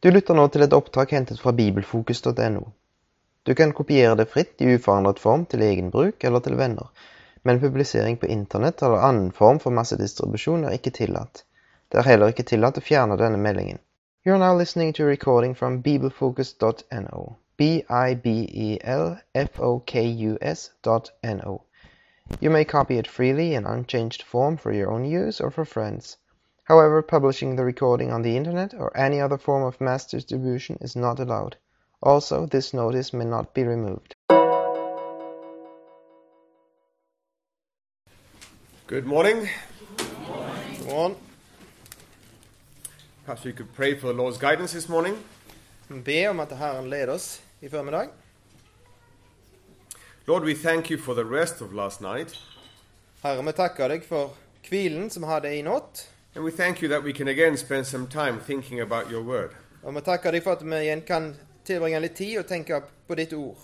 Du lytter nå til et opptak hentet fra bibelfokus.no. Du kan kopiere det fritt i uforandret form til egen bruk eller til venner, men publisering på internett eller annen form for massedistribusjon er ikke tillatt. Det er heller ikke tillatt å fjerne denne meldingen. You are now listening to a recording from bibelfocus.no. E B-I-B-E-L-F-O-K-U-S dot N-O. You may copy it freely in unchanged form for your own use or for friends. However, publishing the recording on the internet or any other form of mass distribution is not allowed. Also, this notice may not be removed. Good morning. Good morning. Perhaps we could pray for the Lord's guidance this morning. Be om at Herren leder oss i formiddag. Lord, we thank you for the rest of last night, Herre, vi takker deg for hvilen som vi hadde i natt. and we thank you that we can again spend some time thinking about your word. Og vi takker deg for at vi igjen kan tilbringe litt tid og tenke på ditt ord.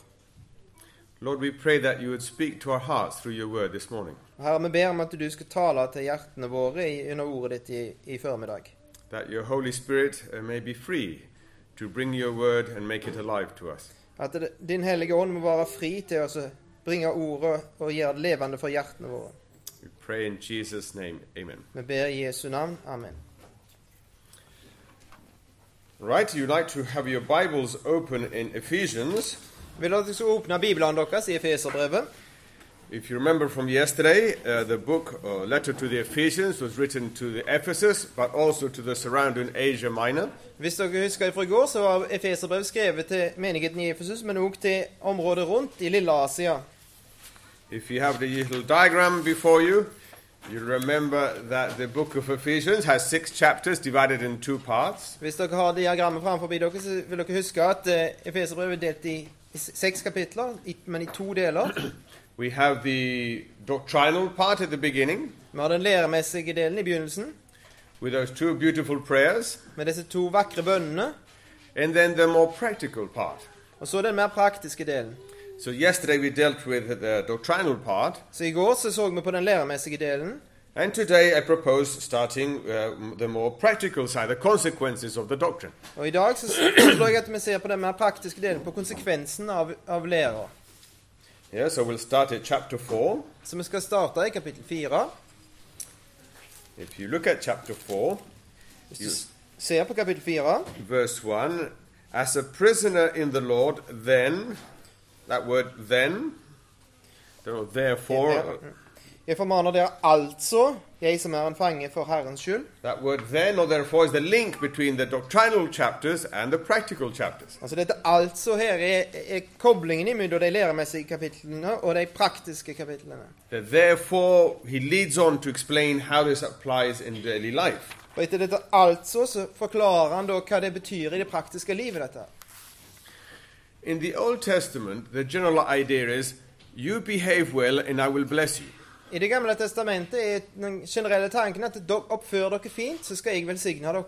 Lord, we pray that you would speak to our hearts through your word this morning, Herre, vi ber om at du skal tale til hjertene våre i- under ordet ditt i, i formiddag. that your Holy Spirit uh, may be free to bring your word and make it alive to us. At det, din hellige ånd må være fri til oss å bringe ordet og gjøre det levende for hjertene våre. We pray in Jesus' name. Amen. Vi ber i Jesu navn. Amen. Right, you'd like to have your Bibles open in Ephesians. Vil dere at jeg skal åpne Bibelen deres i Efeserbrevet? If you remember from yesterday, uh, the book uh, letter to the Ephesians was written to the Ephesus, but also to the surrounding Asia Minor. Hvis dere husker fra i går, så var Efeserbrev skrevet til menigheten i Efesus, men òg til området rundt i Lille Asia. If you have the little diagram before you, you remember that the book of Ephesians has six chapters divided in two parts. Hvis dere har diagrammet framfor dere, så vil dere huske at eh, Efeserbrevet er delt i i s- seks kapitler, i- men i to deler. We have the doctrinal part at the beginning Vi har den læremessige delen i begynnelsen, with those two beautiful prayers, med disse to vakre bønnene. and then the more practical part. Og så den mer praktiske delen. So, yesterday we dealt with the doctrinal part, Så i går så, så vi på den læremessige delen. And today I propose starting uh, the more practical side, the consequences of the doctrine. Og i dag så foreslår jeg at vi ser på den mer praktiske delen, på konsekvensen av, av læra. Yeah, so we'll start at chapter 4. Så vi skal starte i kapittel fire. If you look at chapter 4, Hvis du s- ser på kapittel fire, verse 1, as a prisoner in the Lord, then, that word then, don't know, therefore, uh, Jeg formaner dere altså, jeg som er en fange for Herrens skyld. that word then or therefore is the link between the doctrinal chapters and the practical chapters. Altså dette altså her er, er koblingen imellom de læremessige kapitlene og de praktiske kapitlene. The therefore, he leads on to explain how this applies in daily life. Og etter dette altså så forklarer han da hva det betyr i det praktiske livet, dette. In the Old Testament, the general idea is you behave well and I will bless you. I Det gamle testamentet er den generelle tanken at dere oppfører dere fint, så skal jeg velsigne dere.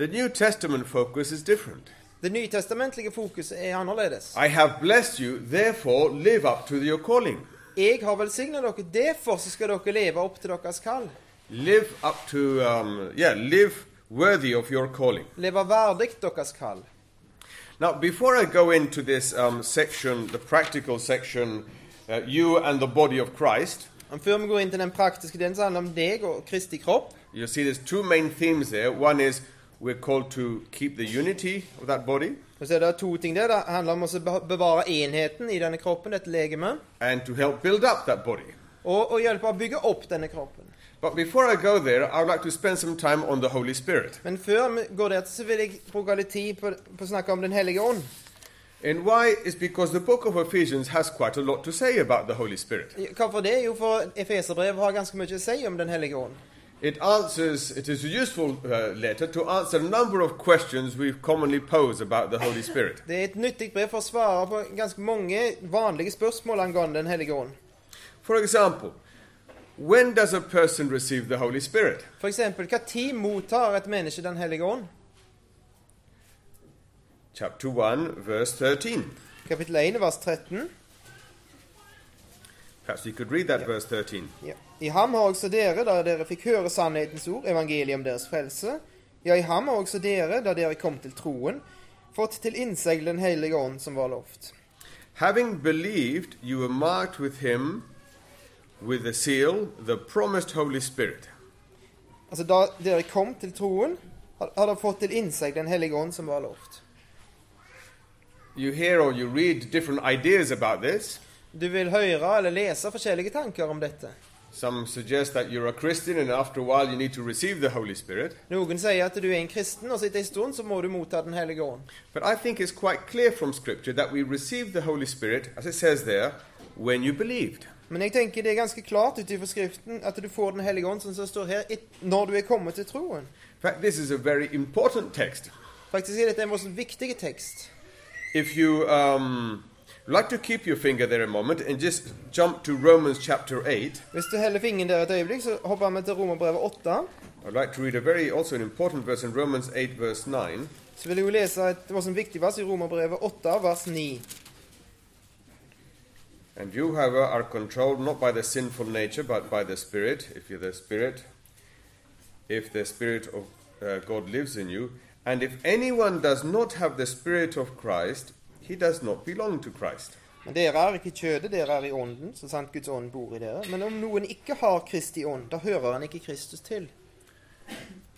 The New Testament focus is different. Det nytestamentlige fokuset er annerledes. I have blessed you, therefore live up to your calling. Jeg har velsignet dere, derfor så skal dere leve opp til deres kall. Live up to, um, yeah, live worthy of your calling. Leve verdig deres kall. Now, before I go into this um, section, the practical section, uh, you and the body of Christ, Men før vi går inn til den praktiske delen, så handler det om deg og Kristi kropp. you'll see there's two main themes there. One is we're called to keep the unity of that body Og så er det to ting der. Det handler om å be- bevare enheten i denne kroppen, dette legemet, and to help build up that body. og, og hjelpe å bygge opp denne kroppen. But before I go there, I would like to spend some time on the Holy Spirit Men før vi går der, så vil jeg bruke litt tid på, på å snakke om Den hellige ånd. and why is because the book of Ephesians has quite a lot to say about the Holy Spirit. Hvorfor det? Jo, for Efeserbrevet har ganske mye å si om Den hellige ånd. It answers, it is a useful uh, letter to answer a number of questions we commonly pose about the Holy Spirit. Det er et nyttig brev for å svare på ganske mange vanlige spørsmål angående Den hellige ånd. For example, when does a person receive the Holy Spirit? For eksempel, hva tid mottar et menneske Den hellige ånd? Chapter 1, verse 13. Kapittel 1, vers 13. Perhaps you could read that verse 13. Ja. I ham har også dere, da dere fikk høre sannhetens ord, evangeliet om deres frelse, Ja, i ham også dere, da dere kom til troen, fått til innsegl Den hellige ånd, som var lovt. Having believed, you were marked with him with the seal, the promised Holy Spirit. Altså, da dere kom til troen, har har dere fått til innsegl Den hellige ånd, som var lovt. You hear or you read different ideas about this. Du vil høre eller lese forskjellige tanker om dette. Some suggest that you're a Christian and after a while you need to receive the Holy Spirit. Noen sier at du er en kristen, og så etter en stund så må du motta Den hellige ånd. But I think it's quite clear from Scripture that we receive the Holy Spirit, as it says there, when you believed. Men jeg tenker det er ganske klart ut ifra Skriften at du får Den hellige ånd, som det står her, et- når du er kommet til troen. In fact, this is a very important text. Faktisk er dette en voldsomt viktig tekst. If you um, like to keep your finger there a moment and just jump to Romans chapter 8, Hvis du heller fingeren der et øyeblikk, så hopper vi til Romerbrevet 8. I'd like to read a very also an important verse in Romans 8, verse 9. Så vil jeg jo lese et voldsomt viktig vers i Romerbrevet 8, vers 9. And you, however, are controlled not by the sinful nature, but by the Spirit, if you're the Spirit, if the Spirit of uh, God lives in you. And if anyone does not have the Spirit of Christ, he does not belong to Christ. Men dere er ikke i kjødet, dere er i ånden, så sant Guds ånd bor i dere. Men om noen ikke har Kristi ånd, da hører han ikke Kristus til.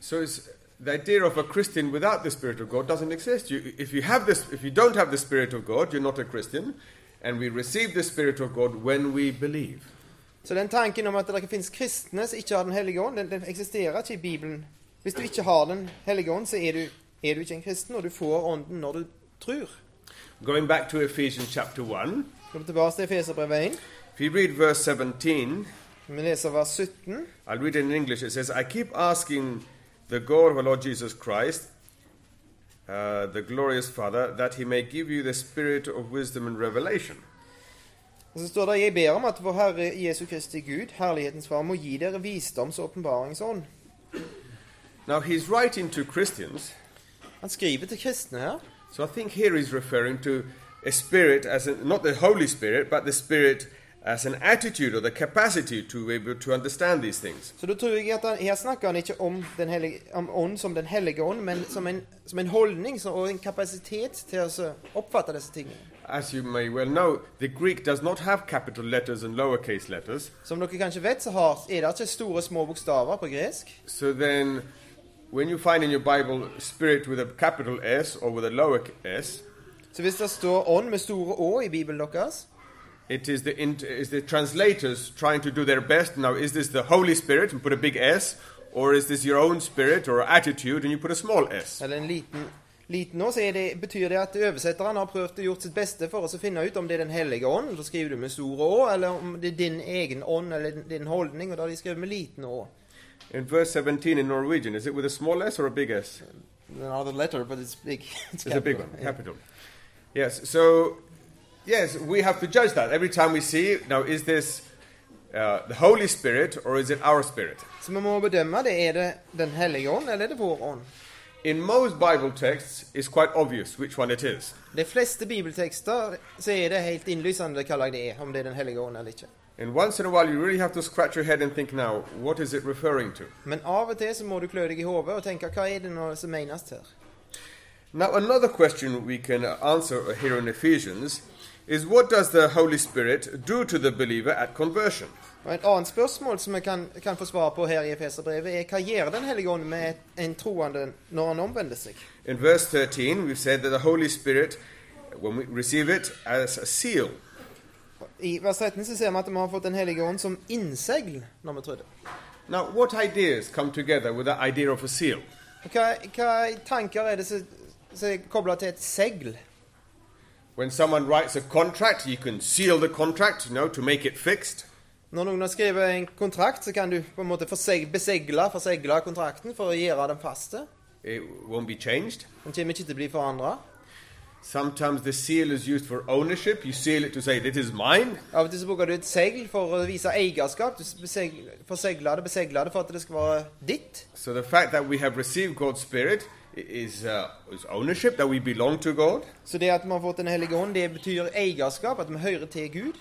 So it's, the idea of a Christian without the Spirit of God doesn't exist. You, if, you have this, if you don't have the Spirit of God, you're not a Christian. And we receive the Spirit of God when we believe. Så den tanken om at det ikke finnes kristne som ikke har Den hellige ånd, den, den eksisterer ikke i Bibelen. Hvis du ikke har Den hellige ånd, så er du, er du ikke en kristen, og du får ånden når du tror. Going back to Ephesians chapter 1, Kom tilbake til Efeserbrevet 1. if you read verse 17, Vi leser vers 17. I'll read it in English. It says, I keep asking the God of our Lord Jesus Christ, uh, the glorious Father, that he may give you the spirit of wisdom and revelation. Og så står det Jeg ber om at vår Herre Jesu Kristi Gud, Herlighetens Far, må gi dere visdoms- og åpenbaringsånd. Now, he's writing to Christians, Han skriver til kristne her. so I think here he's referring to a spirit as a, not the Holy Spirit, but the spirit as an attitude or the capacity to be able to understand these things. Så da tror jeg at han, her snakker han ikke om, den hellige, om ånd som Den hellige ånd, men som en, som en holdning som, og en kapasitet til å så oppfatte disse tingene. As you may well know, the Greek does not have capital letters and lowercase letters. Som dere kanskje vet, så har, er det ikke store, små bokstaver på gresk. So then, when you find in your Bible spirit with a capital S or with a lower s, Så hvis det står ånd med store å i Bibelen deres, it is the, int- is the translators trying to do their best. Now, is this the Holy Spirit and put a big S, or is this your own spirit or attitude and you put a small s? eller en liten liten å, så er det, betyr det at oversetteren har prøvd og gjort sitt beste for å så finne ut om det er Den hellige ånd, og da skriver du med store å, eller om det er din egen ånd eller din holdning, og da har de skrevet med liten å. In verse 17 in Norwegian, is it with a small s or a big s? Another letter, but it's big. It's a big one, capital. Yes, so, yes, we have to judge that every time we see, it. now, is this uh, the Holy Spirit or is it our spirit? Så vi må bedømme det. Er det Den hellige ånd, eller er det vår ånd? In most Bible texts, it's quite obvious which one it is. De fleste bibeltekster så er det helt innlysende hva lag det er, om det er Den hellige ånd eller ikke. And once in a while, you really have to scratch your head and think now, what is it referring to? Men av og til så må du klø deg i hodet og tenke hva er det nå som menes her? Now, another question we can answer here in Ephesians is what does the Holy Spirit do to the believer at conversion? Og Et annet spørsmål som vi kan, kan få svar på her i Efeserbrevet, er hva gjør Den hellige ånd med en troende når han omvender seg? In verse 13, we've said that the Holy Spirit, when we receive it, as a seal. I vers 13 så ser vi at vi har fått Den hellige ånd som innsegl, når vi trodde. Now, what ideas come together with that idea of a seal? Og Hva, hva tanker er det som som er kobla til et segl? When someone writes a contract, you can seal the contract, you know, to make it fixed. Når noen har skrevet en kontrakt, så kan du på en måte forseg- besegle, forsegle kontrakten for å gjøre den faste. It won't be changed. Den kommer ikke til å bli forandra. Sometimes the seal is used for ownership. You seal it to say, This is mine. Av og til så bruker du et segl for å vise eierskap. Du beseg- forsegler det, besegler det for at det skal være ditt. So the fact that we have received God's Spirit i- is, uh, is ownership, that we belong to God. Så det at vi har fått Den hellige ånd, det betyr eierskap, at vi hører til Gud.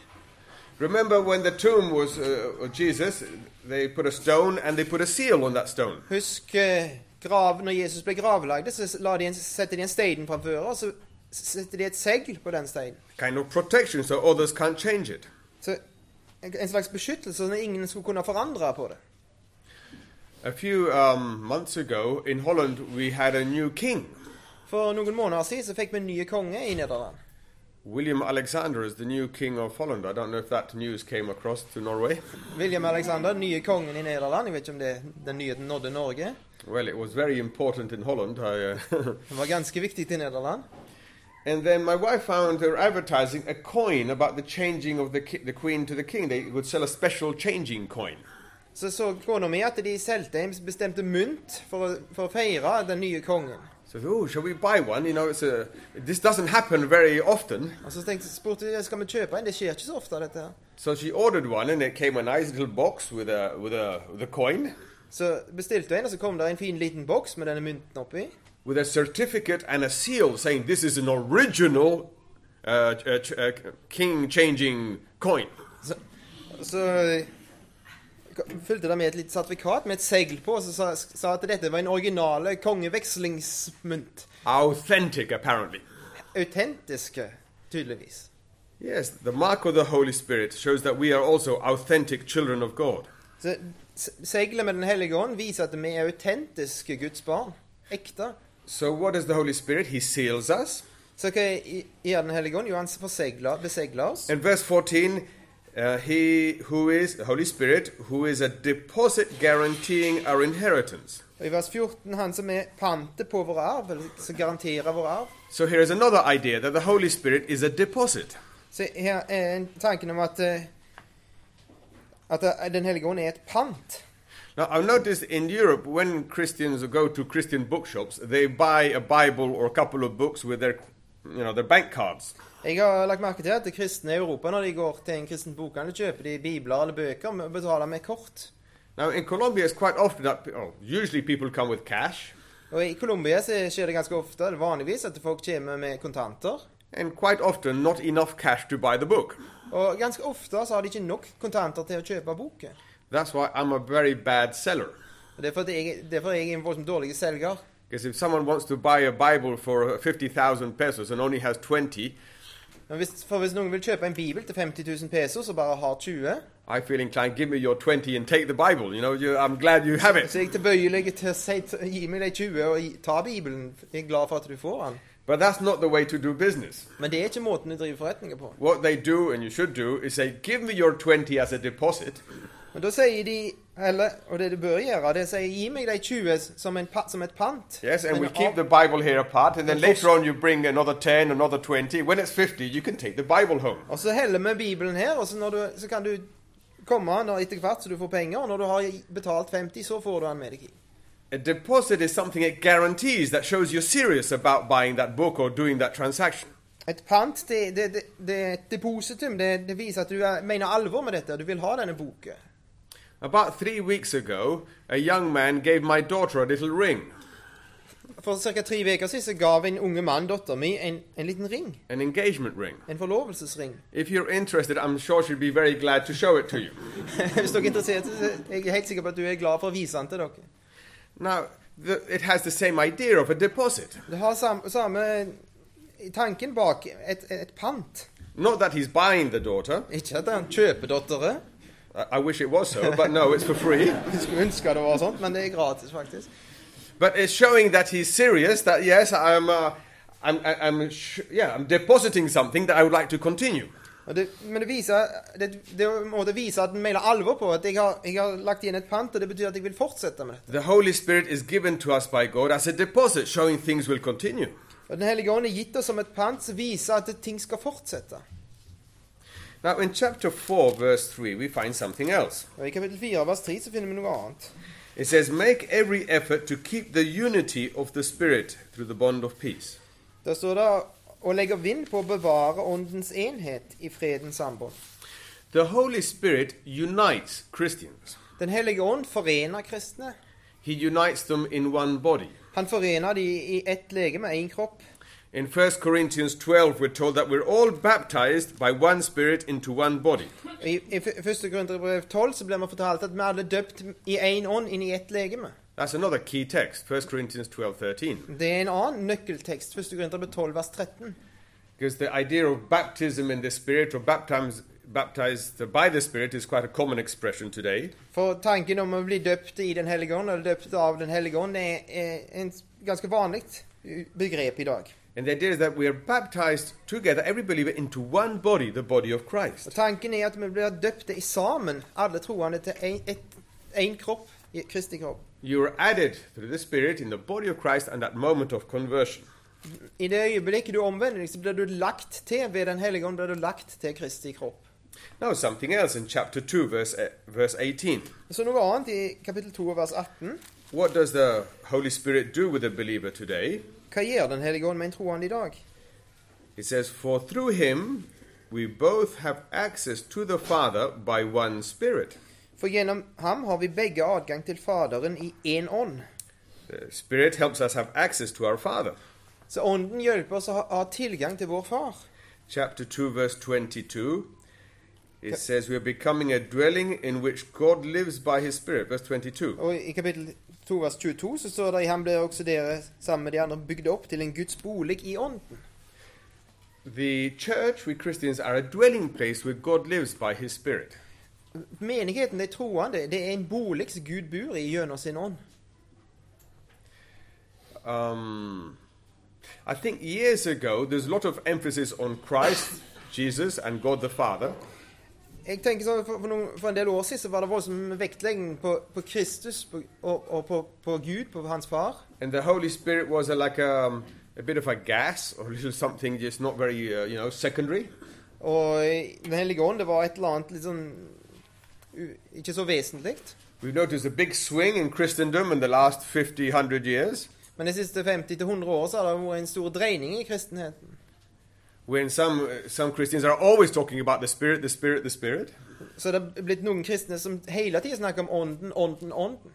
Remember when the tomb was uh, of Jesus, they put a stone and they put a seal on that stone. Husk eh, grav, når Jesus ble gravlagd, så la de en, setter de en stein framfor, og så setter de et segl på den steinen. Kind of protection so others can't change it. Så en, en slags beskyttelse, sånn at ingen skulle kunne forandre på det. A few um, months ago in Holland, we had a new king. For noen måneder siden så fikk vi en ny konge i Nederland. William Alexander is the new king of Holland. I don't know if that news came across to Norway. William Alexander, den nye kongen i Nederland. Jeg vet ikke om det, den nyheten nådde Norge. Well, it was very important in Holland. I, uh, Den var ganske viktig i Nederland. and then my wife found her advertising a coin about the changing of the, ki- the queen to the king. They would sell a special changing coin. Så så kona mi at de solgte en bestemte mynt for å, for å feire den nye kongen. So, oh, shall we buy one? You know, it's a, this doesn't happen very often. Og så tenkte, spurte jeg skal vi kjøpe en. Det skjer ikke så ofte, dette. her. So she ordered one, and it came a nice little box with a with a with a coin, Så bestilte jeg en, og så kom det en fin liten boks med denne mynten oppi. with a certificate and a seal saying this is an original uh, ch- uh, ch- uh, king changing coin. Så, så eh, fulgte det med et lite sertifikat med et segl på, som sa, sa at dette var en originale kongevekslingsmynt. Authentic, apparently. Autentiske, tydeligvis. Yes, the mark of the Holy Spirit shows that we are also authentic children of God. Så se- seglet med Den hellige ånd viser at vi er autentiske Guds barn. Ekte. So, what does the Holy Spirit? He seals us. Så hva gjør Den hellige ånd? Jo, han forsegler, besegler oss. In verse 14, uh, he who is the Holy Spirit, who is a deposit guaranteeing our inheritance. Og I vers 14 han som er pantet på vår arv, eller som garanterer vår arv. So here is another idea that the Holy Spirit is a deposit. Så her er en- tanken om at eh, at eh, Den hellige ånd er et pant. Now I've noticed in Europe when Christians go to Christian bookshops, they buy a Bible or a couple of books with their you know, their bank cards. Jeg har lagt merke til at kristne i Europa, når de går til en kristen bokhandel, kjøper de bibler eller bøker og betaler med kort. Now in Colombia it's quite often that pe- oh, usually people come with cash Og I Colombia så skjer det ganske ofte, eller vanligvis, at folk kommer med kontanter. and quite often not enough cash to buy the book. Og ganske ofte så har de ikke nok kontanter til å kjøpe boken. That's why I'm a very bad seller. Og Det er fordi jeg, det er fordi jeg er en voldsomt dårlig selger. Because if someone wants to buy a Bible for 50,000 pesos and only has 20, Men hvis, for hvis noen vil kjøpe en bibel til 50 000 pesos og bare har 20, I feel inclined, give me your 20 and take the Bible. You know, you, I'm glad you have it. så er jeg tilbøyelig til å si t- gi meg de 20 og gi- ta bibelen. Jeg er glad for at du får den. But that's not the way to do business. Men det er ikke måten du driver forretninger på. What they do, and you should do, is say, give me your 20 as a deposit, Men da sier de heller, og det du bør gjøre, det er å si gi meg de 20 som, en, pa- som et pant. yes, and Men we keep av- the Bible here apart, and then Of later on you bring another 10, another 20. When it's 50, you can take the Bible home. Og så heller vi bibelen her, og så, når du, så kan du komme når, etter hvert så du får penger. Og når du har betalt 50, så får du den med deg hit. A deposit is something it guarantees that shows you're serious about buying that book or doing that transaction. Et pant, det, det, det, det er et depositum. Det, det viser at du er, mener alvor med dette, og du vil ha denne boken. About three weeks ago, a young man gave my daughter a little ring, For ca. tre uker siden så gav en unge mann, datteren min, en, en liten ring. an engagement ring. En forlovelsesring. If you're interested, I'm sure she'd be very glad to show it to you. Hvis dere er interessert, så er jeg helt sikker på at du er glad for å vise den til dere. Now, the, it has the same idea of a deposit. Du har samme, samme tanken bak et, et pant. Not that he's buying the daughter. Ikke at han kjøper datteren. I, I wish it was so, but no, it's for free. Jeg skulle ønske det var sånt, men det er gratis, faktisk. But it's showing that he's serious. That yes, I'm. Uh, I'm, I- I'm sh- yeah, I'm depositing something that I would like to continue. Og det, men det viser det, det er en måte å vise at en mener alvor på. At jeg har, jeg har lagt igjen et pant, og det betyr at jeg vil fortsette med dette. The Holy Spirit is given to us by God as a deposit, showing things will continue. Og Den hellige ånd er gitt oss som et pant som viser at ting skal fortsette. Now, in chapter four, verse three, we find something else. Og I kapittel 4 vers 3 så finner vi noe annet. It says, "Make every effort to keep the unity of the Spirit through the bond of peace." Der står det å legge vind på å bevare åndens enhet i fredens samband. The Holy Spirit unites Christians. Den hellige ånd forener kristne. He unites them in one body. Han forener de i ett legeme, én kropp. In 1 Corinthians 12, we're told that we're all baptized by one Spirit into one body. I, i 1. Korinterbrev 12 så blir vi fortalt at vi alle er døpt i én ånd inn i ett legeme. That's another key text, 1 Corinthians 12 13. Det er en annen nøkkeltekst, 1. Korinterbrev 12, vers 13. Because the idea of baptism in the Spirit or baptiz- baptized by the Spirit is quite a common expression today. For tanken om å bli døpt i Den hellige ånd, eller døpt av Den hellige ånd, er eh, en s- ganske vanlig begrep i dag. And the idea is that we are baptized together, every believer, into one body, the body of Og Christ. Tanken er at vi blir døpte i sammen, alle troende, til én kropp, i- Kristi kropp. You are added through the Spirit in the body of Christ and that moment of conversion. I det øyeblikket du omvender deg, så blir du lagt til ved Den hellige ånd, blir du lagt til Kristi kropp. Now, something else in chapter 2, verse, eh, verse 18. Så noe annet i kapittel 2, og vers 18. What does the Holy Spirit do with a believer today? Hva gjør Den hellige ånd med en troende i dag? It says, For through him we both have access to the Father by one Spirit. For gjennom ham har vi begge adgang til Faderen i én ånd. The Spirit helps us have access to our Father. Så ånden hjelper oss å ha- ha tilgang til vår far. chapter 2 verse 22 it says we are becoming a dwelling in which god lives by his spirit verse 22 Og i kapittel 2 vers 22 så står det i ham blir også dere sammen med de andre bygd opp til en Guds bolig i ånden. the church we christians are a dwelling place where god lives by his spirit Menigheten, de troende, det er en bolig som Gud bor i gjennom sin ånd. um, i think years ago there's a lot of emphasis on christ jesus and god the father Jeg tenker sånn, for, for, noen, for en del år siden så var det voldsom vektlegging på, på Kristus på, og, og på, på Gud, på hans far. and the holy spirit was a, like a, a bit of a gas or a little something just not very uh, you know secondary Og i Den hellige ånd, det var et eller annet litt sånn u- Ikke så vesentlig. we've noticed a big swing in christendom in the last 50 100 years Men de siste 50-100 år så har det vært en stor dreining i kristenheten. when some uh, some Christians are always talking about the spirit, the spirit, the spirit, Så det er blitt noen kristne som hele tiden snakker om ånden, ånden, ånden.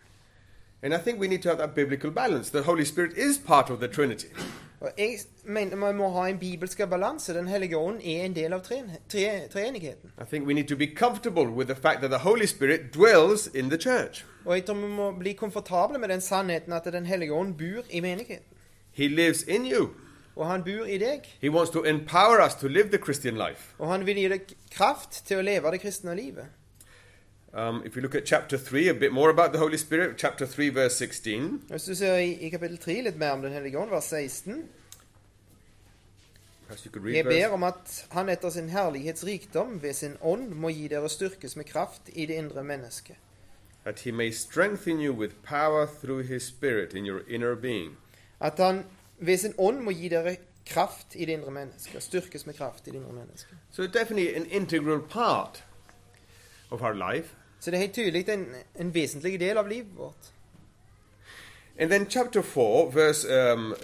and I think we need to have that biblical balance. The Holy Spirit is part of the Trinity, Og jeg mener man må ha en bibelsk balanse. Den hellige ånd er en del av treen- tre- treenigheten. I think we need to be comfortable with the fact that the Holy Spirit dwells in the church. Og jeg tror vi må bli komfortable med den sannheten at Den hellige ånd bor i menigheten. He lives in you. Og han bor i deg. He wants to empower us to live the Christian life. Og han vil gi deg kraft til å leve det kristne livet. Um, if you look at chapter three, a bit more about the Holy Spirit, chapter three, verse sixteen. Hvis du ser i, i kapittel 3 litt mer om Den hellige ånd, vers 16 Perhaps you could Jeg read ber verse. om at han etter sin herlighets rikdom ved sin ånd må gi dere styrkes med kraft i det indre mennesket. That he may strengthen you with power through his spirit in your inner being. At han ved sin ånd må gi dere kraft i det indre mennesket. Styrkes med kraft i det indre mennesket. So definitely an integral part of our life. Så det er helt tydelig en, en vesentlig del av livet vårt. And then chapter 4, verse um,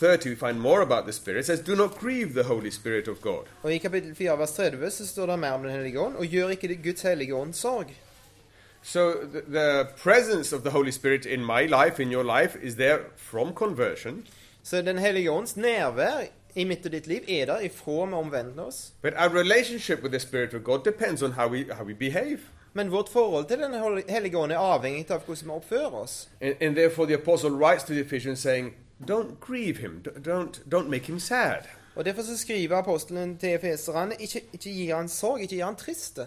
30, we find more about the Spirit. It says, Do not grieve the Holy Spirit of God. Og i kapittel 4 vers 30 så står det mer om Den hellige ånd. Og gjør ikke det Guds hellige ånd sorg. So the, the presence of the Holy Spirit in my life, in your life, is there from conversion. Så Den hellige ånds nærvær i mitt og ditt liv er der ifra vi omvender oss. But our relationship with the Spirit of God depends on how we, how we behave. Men vårt forhold til Den hellige ånd er avhengig av hvordan vi oppfører oss. And, and therefore the apostle writes to the Ephesians saying, Don't grieve him. D- Don't, don't make him sad. Og Derfor så skriver apostelen til efeserne ikke, ikke gi han sorg, ikke gi han triste.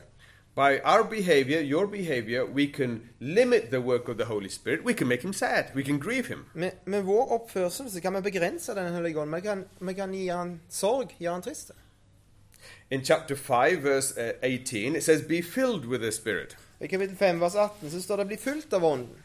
By our behavior, your behavior, we can limit the work of the Holy Spirit. We can make him sad. We can grieve him. Med, med vår oppførsel så kan vi begrense Den hellige ånd. Vi kan, vi kan gi han sorg, gi han triste. In chapter 5, verse uh, 18, it says, Be filled with the Spirit. I kapittel 5 vers 18 så står det 'bli fulgt av ånden'.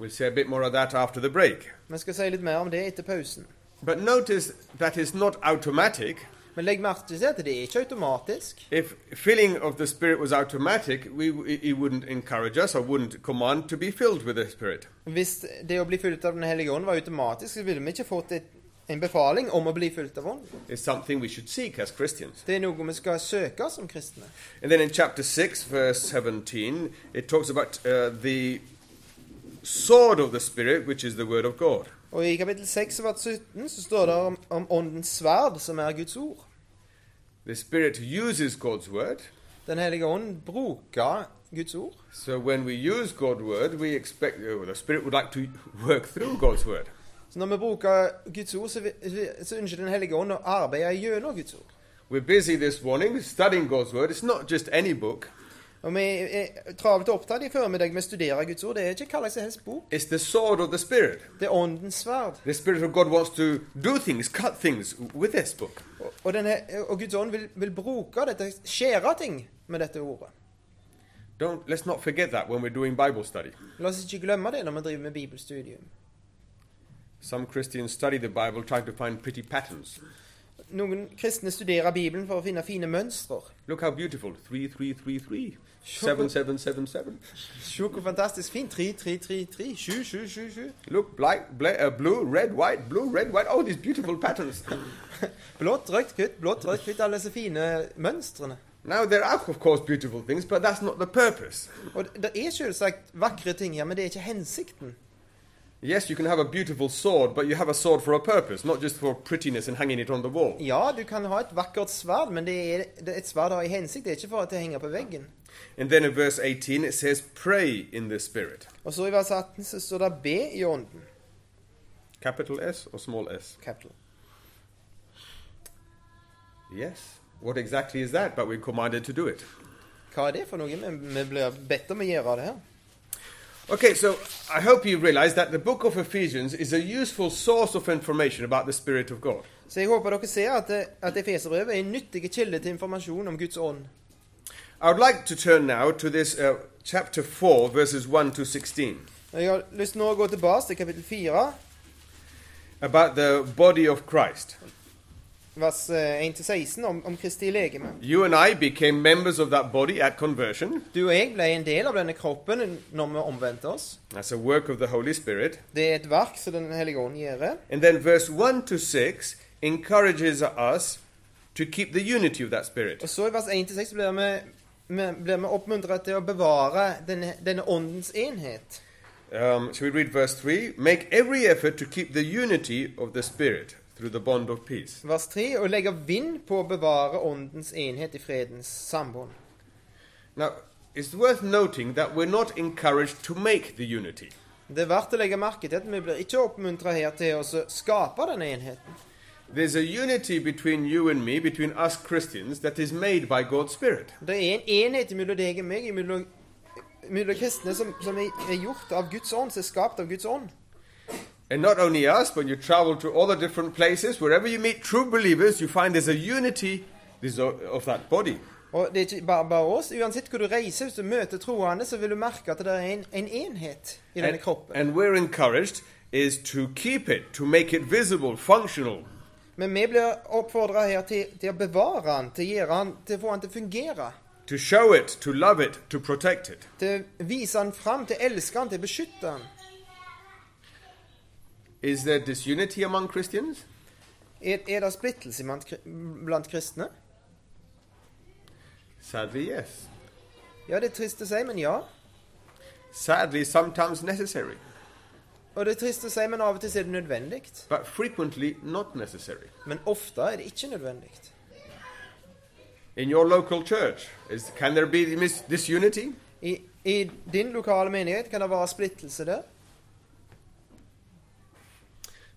We'll say a bit more of that after the break. Vi skal si litt mer om det etter pausen. But notice that is not automatic. Men legg merke til at det er ikke automatisk. If filling of the Spirit was automatic, we, he wouldn't encourage us or wouldn't command to be filled with the Spirit. Hvis det å bli fulgt av Den hellige ånd var automatisk, så ville vi ikke fått et, en befaling om å bli fulgt av ånden. It's something we should seek as Christians. Det er noe vi skal søke som kristne. And then in chapter 6, verse 17, it talks about uh, the sword of the Spirit, which is the Word of God. Og i kapittel 6 vers 17 så står det om, om åndens sverd, som er Guds ord. The Spirit uses God's Word. Den hellige ånd bruker Guds ord. So when we use God's word, we expect oh, the Spirit would like to work through God's word. Så når vi bruker Guds ord, så, vi- så ønsker Den hellige ånd å arbeide gjennom Guds ord. We're busy this morning studying God's word. It's not just any book. Og vi er travelt opptatt i formiddag med å studere Guds ord. Det er ikke hva slags som helst bok. It's the sword of the Spirit. Det er Åndens sverd. The Spirit of God wants to do things, cut things with this book. Og, og, denne, og Guds ånd vil, vil bruke dette, skjære ting med dette ordet. Don't let's not forget that when we're doing Bible study. La oss ikke glemme det når vi driver med bibelstudium. Some Christians study the Bible trying to find pretty patterns. Noen kristne studerer Bibelen for å finne fine mønstre. Look how beautiful. 3333. 7777. Se hvor fantastisk fint. 3, 3, 3, 3, 7, 7, 7, 7. Look, black, bla uh, blue, red, white, blue, red, white. Oh, these beautiful patterns. Blått, rødt, hvitt, blått, rødt, hvitt. Alle disse fine mønstrene. now, there are, of course, beautiful things, but that's not the purpose. Og det- det er selvsagt vakre ting her, men det er ikke hensikten. Yes, you can have a beautiful sword, but you have a sword for a purpose, not just for prettiness and hanging it on the wall. Ja, du kan ha et vakkert sverd, men det er, det er et sverd har en hensikt. Det er ikke for at det henger på veggen. And then in verse 18, it says, Pray in the Spirit. Og så i vers 18 så står det 'be i ånden'. Capital S or small s? Capital. Yes. What exactly is that? But we're commanded to do it. Hva er det for noe? Vi- Vi blir bedt om å gjøre det her. Okay, so I hope you realize that the book of Ephesians is a useful source of information about the Spirit of God. Så jeg håper dere ser at, det- at Efeserbrevet er en nyttig kilde til informasjon om Guds ånd. I would like to turn now to this uh, chapter 4, verses 1 to 16, Og Jeg har lyst nå å gå tilbake til kapittel 4, about the body of Christ. vers eh, 1-16, om, om Kristi legeme. You and I became members of that body at conversion. Du og jeg ble en del av denne kroppen når vi omvendte oss. That's a work of the Holy Spirit. Det er et verk som Den hellige ånd gjør. And then verse 1 to 6 encourages us to keep the unity of that Spirit. Og så i vers 1-6 blir vi, vi, blir vi oppmuntret til å bevare denne, denne åndens enhet. Um, shall we read verse 3? Make every effort to keep the unity of the Spirit through the bond of peace. Vers 3 å legge vind på å bevare åndens enhet i fredens sambund. Now, it's worth noting that we're not encouraged to make the unity. Det er verdt å legge merke til at vi blir ikke oppmuntra her til å så skape denne enheten. There's a unity between you and me, between us Christians, that is made by God's Spirit. Det er en enhet mellom deg og meg, mellom mellom kristne, som, som er er gjort av Guds ånd, som er skapt av Guds ånd. And not only us, when you travel to all the different places, wherever you meet true believers, you find there's a unity this- of that body. Og det er ikke bare, bare oss. Uansett hvor du reiser, hvis du møter troende, så vil du merke at det er en, en enhet i denne And, kroppen. and we're encouraged is to keep it, to make it visible, functional, Men vi blir oppfordra her til, til å bevare den, til, å gjøre den, til å få den til å fungere. to show it, to love it, to protect it. Til å vise den fram, til å elske den, til å beskytte den. Is there disunity among Christians? Er, er det splittelse blant, kri- blant kristne? Sadly, yes. Ja, det er trist å si, men ja. Sadly, sometimes necessary, Og det er trist å si, men av og til så er det nødvendig. but frequently not necessary. Men ofte er det ikke nødvendig. In your local church, is, can there be mis- disunity? I, I din lokale menighet kan det være splittelse der.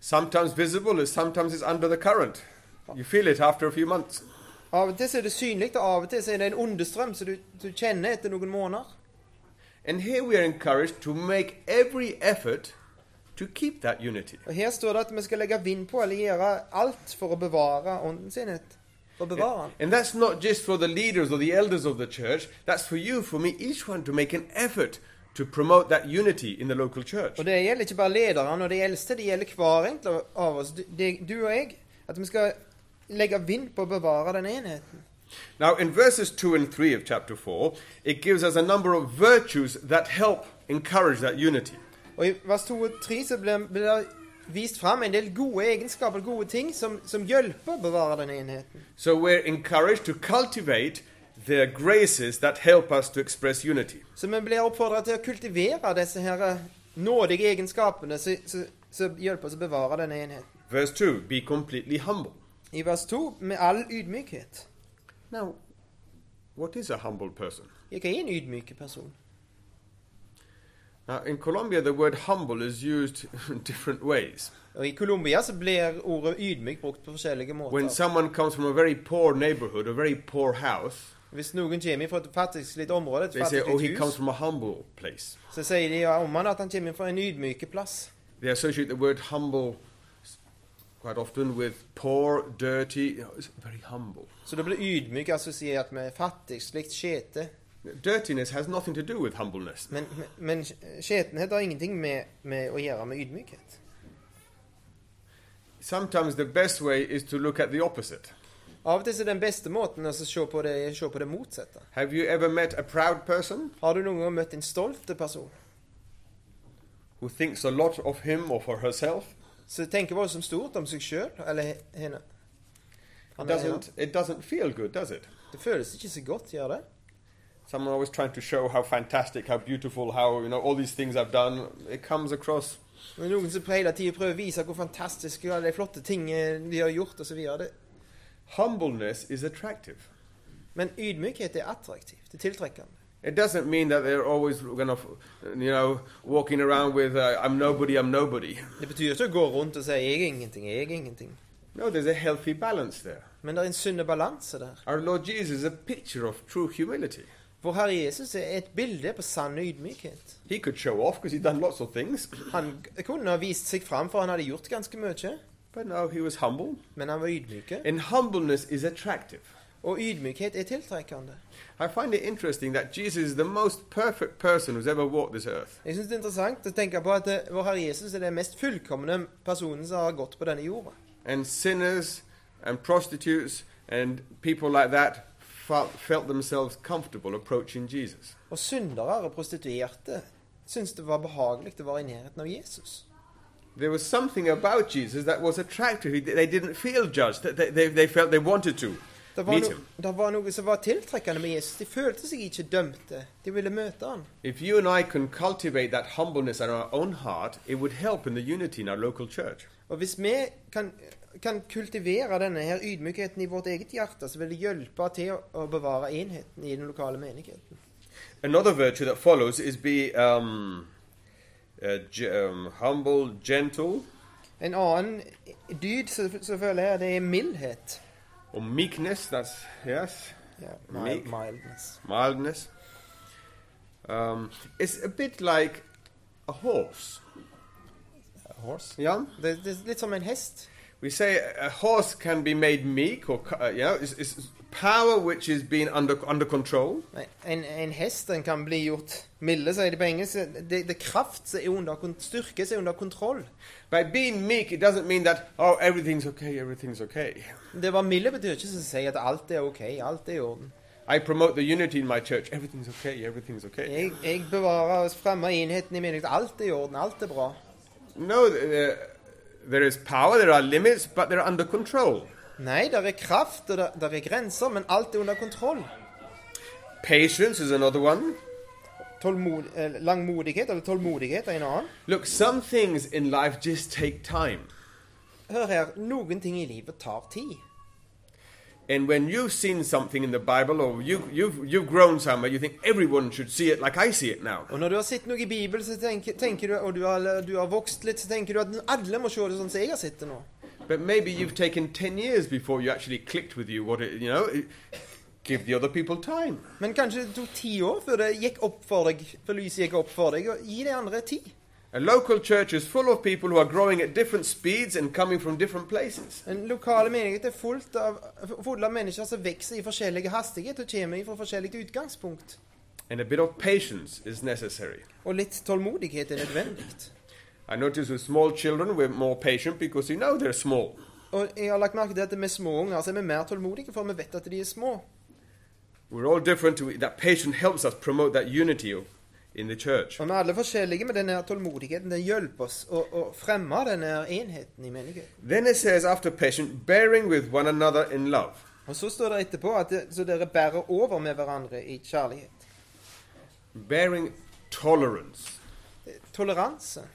Sometimes visible, and sometimes it's under the current. You feel it after a few months. Av og til så er det synlig, og av og til så er det en ondestrøm som du, du kjenner etter noen måneder. And here we are encouraged to make every effort to keep that unity. Og her står det at vi skal legge vind på, eller gjøre alt for å bevare åndens enhet. For å bevare den. And that's not just for the leaders or the elders of the church, that's for you, for me, each one to make an effort to promote that unity in the local church. Og det gjelder ikke bare lederne og de eldste, det gjelder hver enkelt av oss, du, det- du og jeg. At vi skal legge vind på å bevare den enheten. Now, in verses 2 and 3 of chapter 4, it gives us a number of virtues that help encourage that unity. Og i vers 2 og 3 så blir blir det vist fram en del gode egenskaper, gode ting, som, som hjelper å bevare den enheten. So, we're encouraged to cultivate the graces that help us to express unity. Så vi blir oppfordra til å kultivere disse her eh, nådige egenskapene som som- som hjelper oss å bevare denne enheten. Verse 2 Be completely humble. I vers 2 med all ydmykhet. Now, What is a humble person? Ja, Hva er en ydmyk person? Now, in Colombia, the word humble is used in different ways. Og I Colombia så blir ordet ydmyk brukt på forskjellige When måter. someone comes from a very poor neighborhood, a very poor house, Hvis noen kommer fra et fattigslitt område, et they say, oh, he fattigslitt comes hus, from a humble place. så sier de ja, om han at han kommer fra en ydmyk plass. They associate the word humble s- quite often with poor, dirty, you know, it's very humble. Så da blir ydmyk assosiert med fattigslikt, skjete. Dirtiness has nothing to do with humbleness. Men, men, men skjetenhet har ingenting med, med å gjøre med ydmykhet. Sometimes the best way is to look at the opposite. Av og til så er den beste måten å se på det, se på det motsatte. Have you ever met a proud person Har du noen gang møtt en stolt person who thinks a lot of him or for herself? som tenker voldsomt stort om seg sjøl eller he- henne? It Han eller henne. doesn't, it doesn't feel good, does it? Det føles ikke så godt, gjør det? Someone always trying to show how fantastic, how beautiful, how, you know, all these things I've done. It comes across Men noen som hele tiden prøver å vise hvor fantastiske og alle de flotte ting eh, de har gjort, og så videre. Det- Humbleness is attractive. Men ydmykhet er attraktivt. Det er tiltrekkende. It doesn't mean that they're always going to, you know, walking around with uh, "I'm nobody, I'm nobody." Det betyr ikke å gå rundt og si 'jeg er ingenting', 'jeg er ingenting'. No, there's a healthy balance there. Men det er en sunn balanse der. Our Lord Jesus is a picture of true humility. Vår Herre Jesus er et bilde på sann ydmykhet. He could show off because he'd done lots of things, Han g- kunne ha vist seg fram, for han hadde gjort ganske mye, but no, he was humble. men han var ydmyk. And humbleness is attractive. Og ydmykhet er tiltrekkende. I find it interesting that Jesus is the most perfect person who's ever walked this earth. Jeg syns det er interessant å tenke på at eh, vår Herre Jesus er den mest fullkomne personen som har gått på denne jorda. And sinners and prostitutes and people like that felt, felt themselves comfortable approaching Jesus. Og syndere og prostituerte syntes det var behagelig å være i nærheten av Jesus. There was something about Jesus that was attractive. He- They didn't feel judged. They, they, they felt they wanted to Det var, meet no, him. det var noe som var tiltrekkende med Jesus. De følte seg ikke dømte. De ville møte han. If you and I can cultivate that humbleness in our own heart, it would help in the unity in our local church. Og hvis vi kan, kan kultivere denne her ydmykheten i vårt eget hjerte, så vil det hjelpe til å, å bevare enheten i den lokale menigheten. Another virtue that follows is be um, uh, ge- um, humble, gentle, En annen dyd som som føler jeg, det er mildhet. or meekness. That's yes, Ja, Mild- mildness. mildness. Um, it's a bit like a horse. Horse. Yeah. Det, det er litt som en hest. We say a horse can be made meek, or uh, you know, it's, it's power which is being under under control. Nei, En, en hest den kan bli gjort milde, sier de på engelsk. Det, det er kraft som er under kon- styrke, som er under kontroll. By being meek, it doesn't mean that oh everything's okay, everything's okay. Det å være milde betyr ikke som å si at alt er ok, alt er i orden. I promote the unity in my church. Everything's okay, everything's okay. Jeg, jeg bevarer og fremmer enheten i menigheten. Alt er i orden, alt er bra. No, uh, there is power, there are limits, but they're under control. Nei, der er kraft, og der, der er grenser, men alt er under kontroll. Patience is another one. Tålmod, eh, langmodighet, eller tålmodighet, er en annen. Look, some things in life just take time. Hør her, noen ting i livet tar tid. And when you've seen something in the Bible or you, you've, you've grown somewhere, you think everyone should see it like I see it now. Og når du har sett noe i Bibelen, så tenker, tenker du, og du har, du har vokst litt, så tenker du at alle må se det sånn som jeg har sett det nå. But maybe you've taken 10 years before you actually clicked with you what it, you know, it- give the other people time. Men kanskje det tok ti år før det gikk opp for deg, før lyset gikk opp for deg, og gi de andre tid. A local church is full of people who are growing at different speeds and coming from different places. En lokale menighet er fullt av, full av mennesker som vokser i forskjellige hastigheter og kommer fra forskjellige utgangspunkt. And a bit of patience is necessary. Og litt tålmodighet er nødvendig. I notice with small children we're more patient because you know they're small. Og jeg har lagt merke til at med små unger så er vi mer tålmodige, for vi vet at de er små. We're all different. We, that patience helps us promote that unity of, in the church. Og vi er alle forskjellige, men denne her tålmodigheten den hjelper oss å, å fremme denne her enheten i menigheten. Then it says after patience, bearing with one another in love. Og så står det etterpå at det, så dere bærer over med hverandre i kjærlighet. Bearing tolerance. Eh, Toleranse.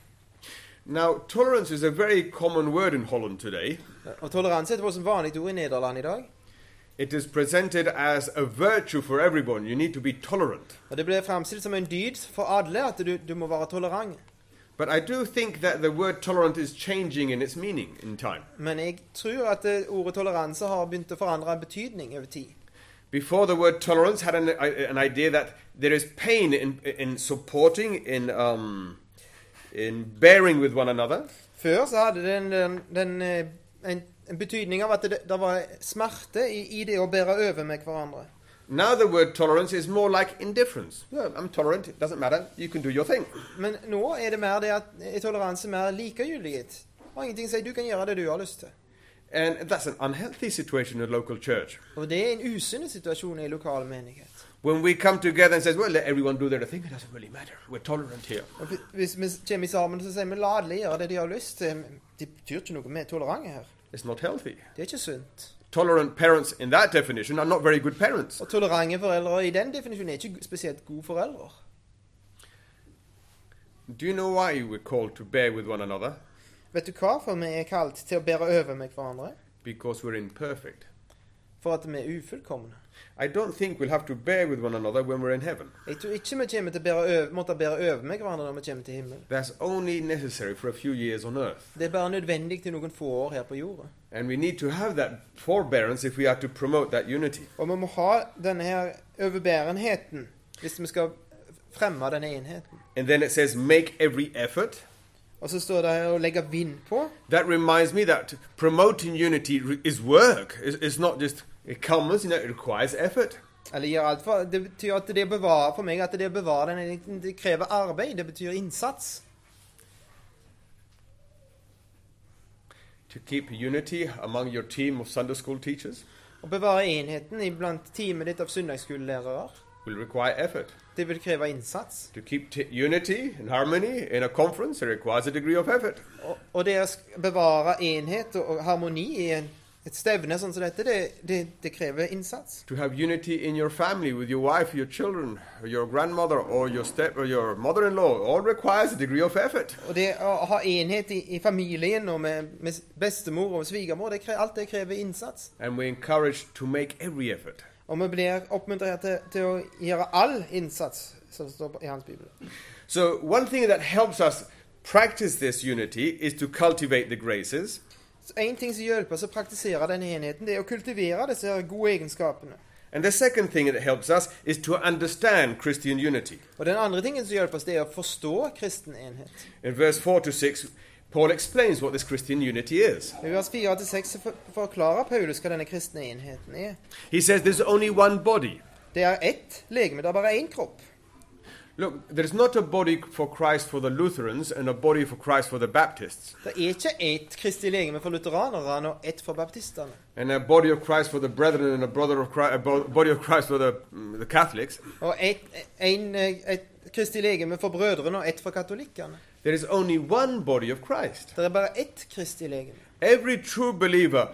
Now, tolerance is a very common word in Holland today. Og toleranse er et voldsomt vanlig ord i Nederland i dag. It is presented as a virtue for everyone. You need to be tolerant. Og Det blir fremstilt som en dyd for alle at du, du må være tolerant. But I do think that the word tolerant is changing in its meaning in time. Men jeg tror at eh, ordet toleranse har begynt å forandre betydning over tid. Before, the word tolerance had an, an idea that there is pain in, in supporting, in, um, in bearing with one another. Før så hadde det en, den, den, eh, en, en betydning av at det, det var smerte i, i det å bære over med hverandre. Now, the word tolerance is more like indifference. Yeah, I'm tolerant, it doesn't matter, you can do your thing. Men nå er det mer det at er toleranse mer likegyldighet. Og ingenting sier du kan gjøre det du har lyst til. And that's an unhealthy situation in a local church. Og det er en usunn situasjon i lokal menighet. When we come together and says, well, let everyone do their thing, it doesn't really matter. We're tolerant here. Og hvi- hvis vi kommer sammen så sier vi la alle gjøre det de har lyst til. Men Det betyr ikke noe med tolerante her. It's not healthy. Det er ikke sunt. Tolerant parents, in that definition, are not very good parents. Og tolerante foreldre i den definisjonen er ikke spesielt gode foreldre. Do you know why we're called to bear with one another? Vet du hva? For vi er kalt til å bære over med hverandre. Because we're imperfect. For at vi er ufullkomne. I don't think we'll have to bear with one another when we're in heaven. Jeg tror ikke vi kommer til å bære over, måtte bære over med hverandre når vi kommer til himmelen. That's only necessary for a few years on earth. Det er bare nødvendig til noen få år her på jorda. And we need to have that forbearance if we are to promote that unity. Og vi må ha denne her overbærenheten hvis vi skal fremme denne enheten. And then it says, make every effort. Og så står det her å legge vind på. That reminds me that promoting unity re- is work. It's, it's not just, it comes, you know, it requires effort. Eller gjøre alt for Det betyr at det bevarer for meg at det bevarer den enheten. Det krever arbeid. Det betyr innsats. To keep unity among your team of Sunday school teachers Å bevare enheten iblant teamet ditt av søndagsskolelærere, will require effort. det vil kreve innsats. To keep t- unity and harmony in a conference it requires a degree of effort. Og, og det å sk- bevare enhet og og harmoni i en, et stevne sånn som dette, det, det, det krever innsats. To have unity in your family with your wife, your children, or your grandmother, or your step, or your mother-in-law, all requires a degree of effort. Og det å ha enhet i, i familien og med, med bestemor og svigermor, det krever, alt det krever innsats. And we're encouraged to make every effort. Og vi blir oppmuntret til, til å gjøre all innsats, som står på- i hans bibel. So one thing that helps us practice this unity is to cultivate the graces. Så En ting som hjelper oss å praktisere denne enheten, det er å kultivere disse her gode egenskapene. And the second thing that helps us is to understand Christian unity. Og den andre tingen som hjelper oss, det er å forstå kristen enhet. In verse 4 to 6, Paul explains what this Christian unity is. I vers 4-6 for- forklarer Paulus hva denne kristne enheten er. He says there's only one body. Det er ett legeme, det er bare én kropp. Look, there's not a body for Christ for the Lutherans and a body for Christ for the Baptists, Det er ikke ett kristig legeme for lutheranerne og ett for baptistene. and a body of Christ for the brethren and a, brother of Christ, a bo- body of Christ for the, mm, the Catholics. Og ett en, eh, et kristig legeme for brødrene og ett for katolikkene. There is only one body of Christ. Det er bare ett kristig legeme. Every true believer,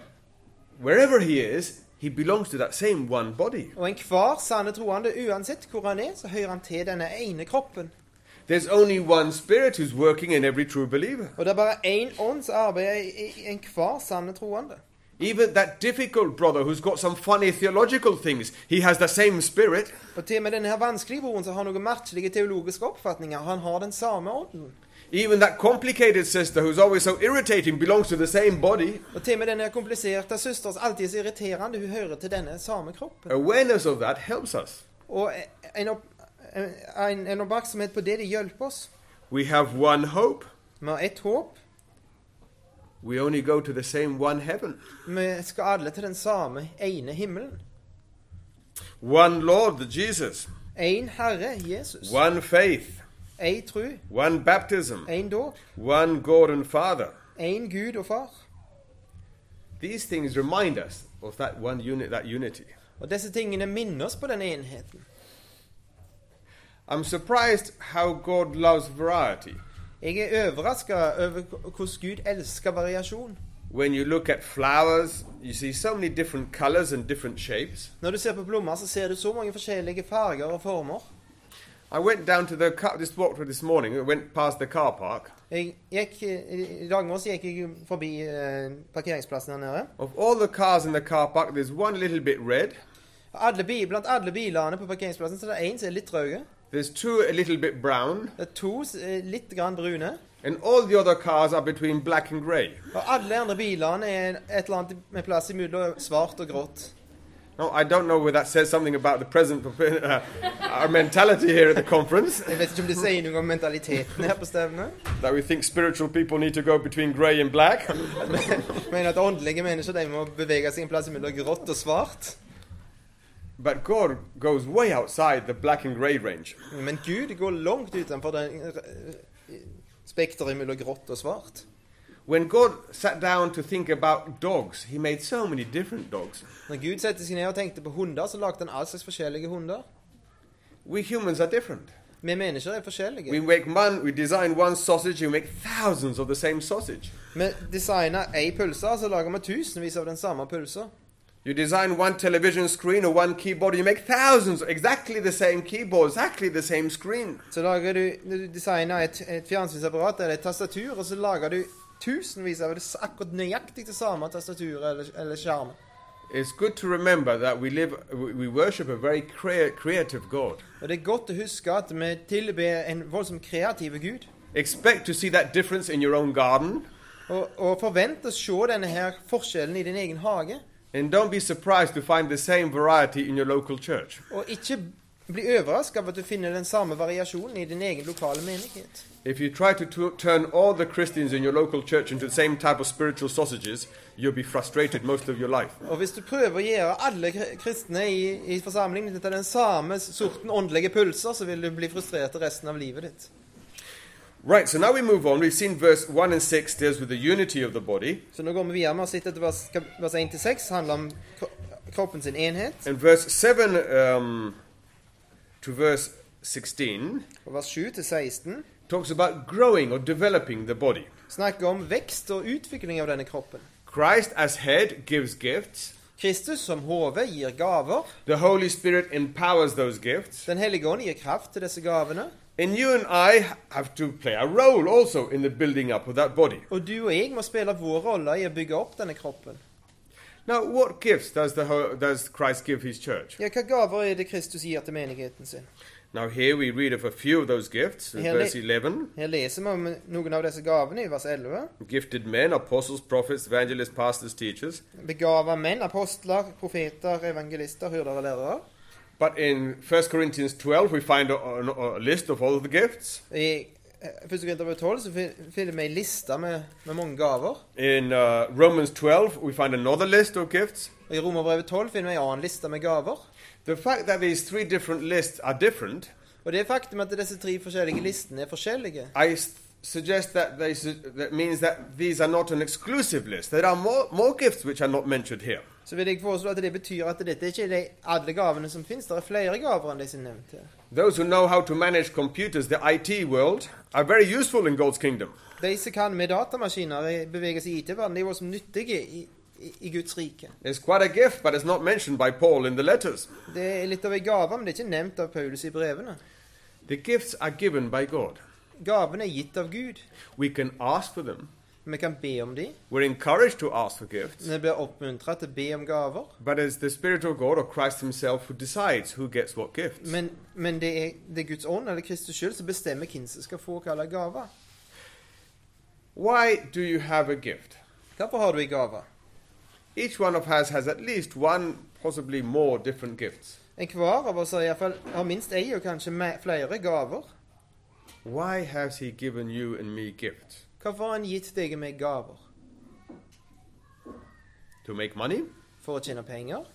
wherever he is, he belongs to that same one body. Og enhver sanne troende, uansett hvor han er, så hører han til denne ene kroppen. There's only one Spirit who's working in every true believer. Og det er bare én ånd som arbeider i i enhver sanne troende. Even that difficult brother who's got some funny theological things, he has the same Spirit. Og til og med denne her vanskelige broren som har noen merkelige teologiske oppfatninger, han har den samme ånden. Even that complicated sister who's always so irritating belongs to the same body. Og til og med denne kompliserte søster som alltid er så irriterende, hun hører til denne samme kroppen. Awareness of that helps us. Og en, opp, en, en oppmerksomhet på det, det hjelper oss. We have one hope. Vi har ett håp. We only go to the same one heaven. Vi skal alle til den samme ene himmelen. One Lord, Jesus. Én Herre, Jesus. One faith. Én tru, One baptism. én dåp, One God and Father. én Gud og Far. These things remind us of that one unit, that unity. Og disse tingene minner oss på den enheten. I'm surprised how God loves variety. Jeg er overraska over hvordan Gud elsker variasjon. When you look at flowers, you see so many different colors and different shapes. Når du ser på blomster, så ser du så mange forskjellige farger og former. I went down to the car, just walked through this morning, I went past the car park. Jeg gikk, I dag morges gikk jeg jo forbi eh, parkeringsplassen her nede. Of all the cars in the car park, there's one little bit red, Alle bi, blant alle bilene på parkeringsplassen så er det én som er litt rød. there's two a little bit brown, Det er to som er litt grann brune. and all the other cars are between black and grey. Og alle andre bilene er et eller annet med plass imellom svart og grått. Now, I don't know whether that says something about the present, uh, our mentality here at the conference, Jeg vet ikke om det sier noe om mentaliteten her på stevnet. that we think spiritual people need to go between grey and black. Men at åndelige mennesker de må bevege seg en plass mellom grått og svart. But God goes way outside the black and grey range. Men Gud går langt utenfor den eh, spekteret mellom grått og svart. When God sat down to think about dogs, He made so many different dogs. Når Gud satte seg ned og tenkte på hunder, så lagde han all slags forskjellige hunder. We humans are different. Vi mennesker er forskjellige. We make one, we design one sausage, we make thousands of the same sausage. Vi designer ei pølse, så lager vi tusenvis av den samme pølsa. You design one television screen or one keyboard, you make thousands, exactly the same keyboard, exactly the same screen. Så lager du, når du designer et, et fjernsynsapparat eller et tastatur, og så lager du tusenvis av det s- akkurat nøyaktig det samme tastaturet eller, eller skjermen. It's good to remember that we live, we we worship a very crea- creative God. Og det er godt å huske at vi tilber en voldsomt kreativ gud. Expect to see that difference in your own garden, Og, og forvent å se denne her forskjellen i din egen hage. and don't be surprised to find the same variety in your local church. Og ikke bli overrasket av at du finner den samme variasjonen i din egen lokale menighet. If you try to tu- turn all the Christians in your local church into the same type of spiritual sausages, you'll be frustrated most of your life. Og hvis du prøver å gjøre alle kri- kristne i, i forsamlingen til den samme sorten åndelige pølser, så vil du bli frustrert resten av livet ditt. Right, so now we move on. We've seen verse 1 and 6 deals with the unity of the body, Så nå går vi videre med å sitte etter vers, kap- vers 1-6, handler om kro- kroppen sin enhet. and verse 7 um, to verse 16 Og vers 7-16 talks about growing or developing the body. snakker om vekst og utvikling av denne kroppen. Christ as head gives gifts, Kristus som hode gir gaver. the Holy Spirit empowers those gifts, Den hellige ånd gir kraft til disse gavene. and you and I have to play a role also in the building up of that body. Og du og jeg må spille vår rolle i å bygge opp denne kroppen. Now, what gifts does, the, ho- does Christ give his church? Ja, Hva gaver er det Kristus gir til menigheten sin? Now, here we read of a few of those gifts in Yeah, verse they- 11 Her leser vi om noen av disse gavene i vers 11. gifted men, apostles, prophets, evangelists, pastors, teachers. Begava menn, apostler, profeter, evangelister, hyrder og lærere. But in 1 Corinthians 12, we find a, a- a list of all of the gifts. I eh, 1. Korinterbrev 12 så fin- finner vi ei liste med, med mange gaver. In uh, Romans 12, we find another list of gifts. Og I Romerbrevet 12 finner vi en annen liste med gaver. The fact that these three different lists are different, Og det faktum at disse tre forskjellige listene er forskjellige, I s- suggest that they su- that means that these are not an exclusive list. There are more, more gifts which are not mentioned here. så vil jeg foreslå at det betyr at dette ikke er de alle gavene som finnes. Det er flere gaver enn de som er nevnt her. Those who know how to manage computers, the IT world, are very useful in God's kingdom. De som kan med datamaskiner eh, bevege seg i IT-verdenen, de er også nyttige i, i, i Guds rike. It's quite a gift, but it's not mentioned by Paul in the letters. Det er litt av ei gave, men det er ikke nevnt av Paulus i brevene. The gifts are given by God. Gavene er gitt av Gud. We can ask for them. Vi kan be om dem. We're encouraged to ask for gifts. Vi blir oppmuntra til å be om gaver. But it's the Spirit of God or Christ Himself who decides who gets what gifts. Men, men det, er, det er Guds ånd eller Kristus sjøl som bestemmer hvem som skal få hva slags gave. Why do you have a gift? Hvorfor har du ei gave? Each one of us has at least one, possibly more different gifts. Enhver av oss har, i hvert fall, har minst ei og kanskje me- flere gaver. Why has He given you and me gifts? Hvorfor har han gitt deg og meg gaver? To make money? For å tjene penger?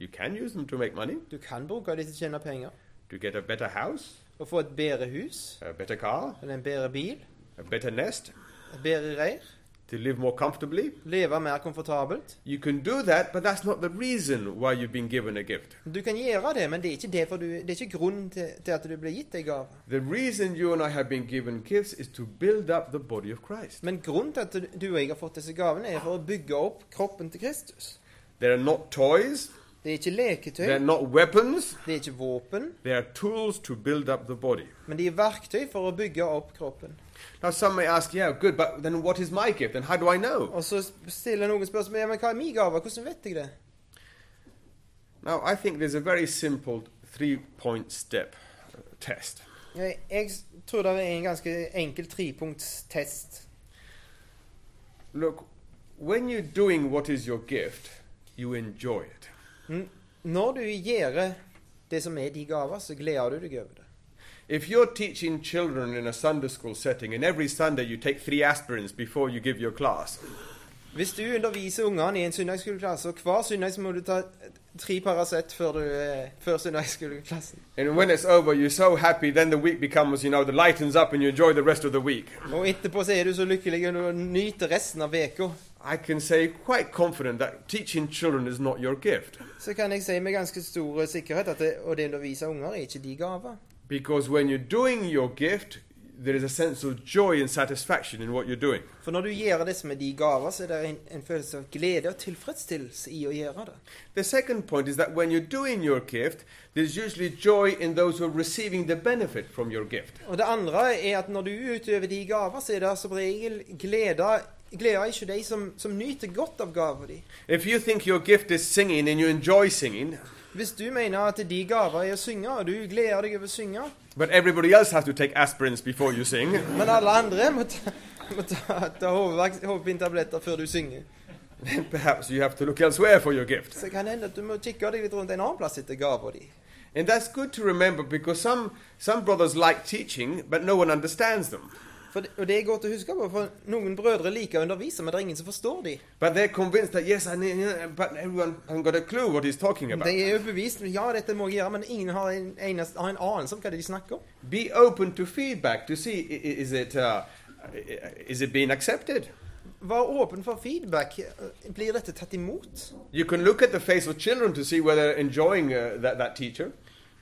You can use them to make money. Du kan bruke de til å tjene penger. To get a better house, Å få et bedre hus, a better car, eller en bedre bil, a better nest, et bedre reir. to live more comfortably. Leve mer komfortabelt. You can do that, but that's not the reason why you've been given a gift. Du kan gjøre det, men det er ikke, derfor du, det er ikke grunnen til, til at du blir gitt ei gave. The reason you and I have been given gifts is to build up the body of Christ. Men grunnen til at du- du og jeg har fått disse gavene, er for å bygge opp kroppen til Kristus. They are not toys, Det er ikke leketøy, They're not weapons, det er ikke våpen, they are tools to build up the body. men de er verktøy for å bygge opp kroppen. Now, some may ask, yeah, good, but then what is my gift? And how do I know? Og så stiller noen spørsmål ja, men hva er min gave, hvordan vet jeg det? Now, I think there's a very simple three point step uh, test. Jeg, jeg s- tror det er en ganske enkel trepunktstest. Look, when you're doing what is your gift, you enjoy it. N- Når du gjør det som er de gaver, så gleder du deg over det. If you're teaching children in a Sunday school setting and every Sunday you take three aspirins before you give your class, Hvis du underviser ungene i en søndagsskoleklasse, og hver søndag så må du ta tre Paracet før, du, eh, før søndagsskoleklassen and when it's over you're so happy, then the week becomes, you know, the lightens up and you enjoy the rest of the week. Og etterpå så er du så lykkelig og du nyter resten av uka. I can say quite confident that teaching children is not your gift. Så kan jeg si med ganske stor sikkerhet at det, og det å undervise unger er ikke de gaver. Because when you're doing your gift, there is a sense of joy and satisfaction in what you're doing. For når du gjør det som er de gaver, så er det en, en følelse av glede og tilfredsstillelse i å gjøre det. The second point is that when you're doing your gift, there's usually joy in those who are receiving the benefit from your gift. Og det andre er at når du utøver de gaver, så er det som regel glede Gleder ikke de som, som nyter godt av gaven din. If you think your gift is singing and you enjoy singing, Hvis du mener at de gaver er å synge, og du gleder deg over å synge, but everybody else has to take aspirins before you sing, men alle andre må ta, må ta, ta hovedverk- hovedpinetabletter før du synger, then perhaps you have to look elsewhere for your gift. så kan det hende at du må kikke deg litt rundt en annen plass etter gaven din. And that's good to remember because some, some brothers like teaching, but no one understands them. For det, og det er godt å huske på, for noen brødre liker å undervise, men det er ingen som forstår dem. But they're convinced that, yes, I need, but everyone hasn't got a clue what he's talking about. De er overbevist om ja, dette må jeg gjøre, men ingen har en, eneste, har en anelse om hva det er de snakker om. Be open to feedback to see i- i- is it uh, is it being accepted. Vær åpen for feedback. Blir dette tatt imot? You can look at the face of children to see whether they're enjoying uh, that, that teacher.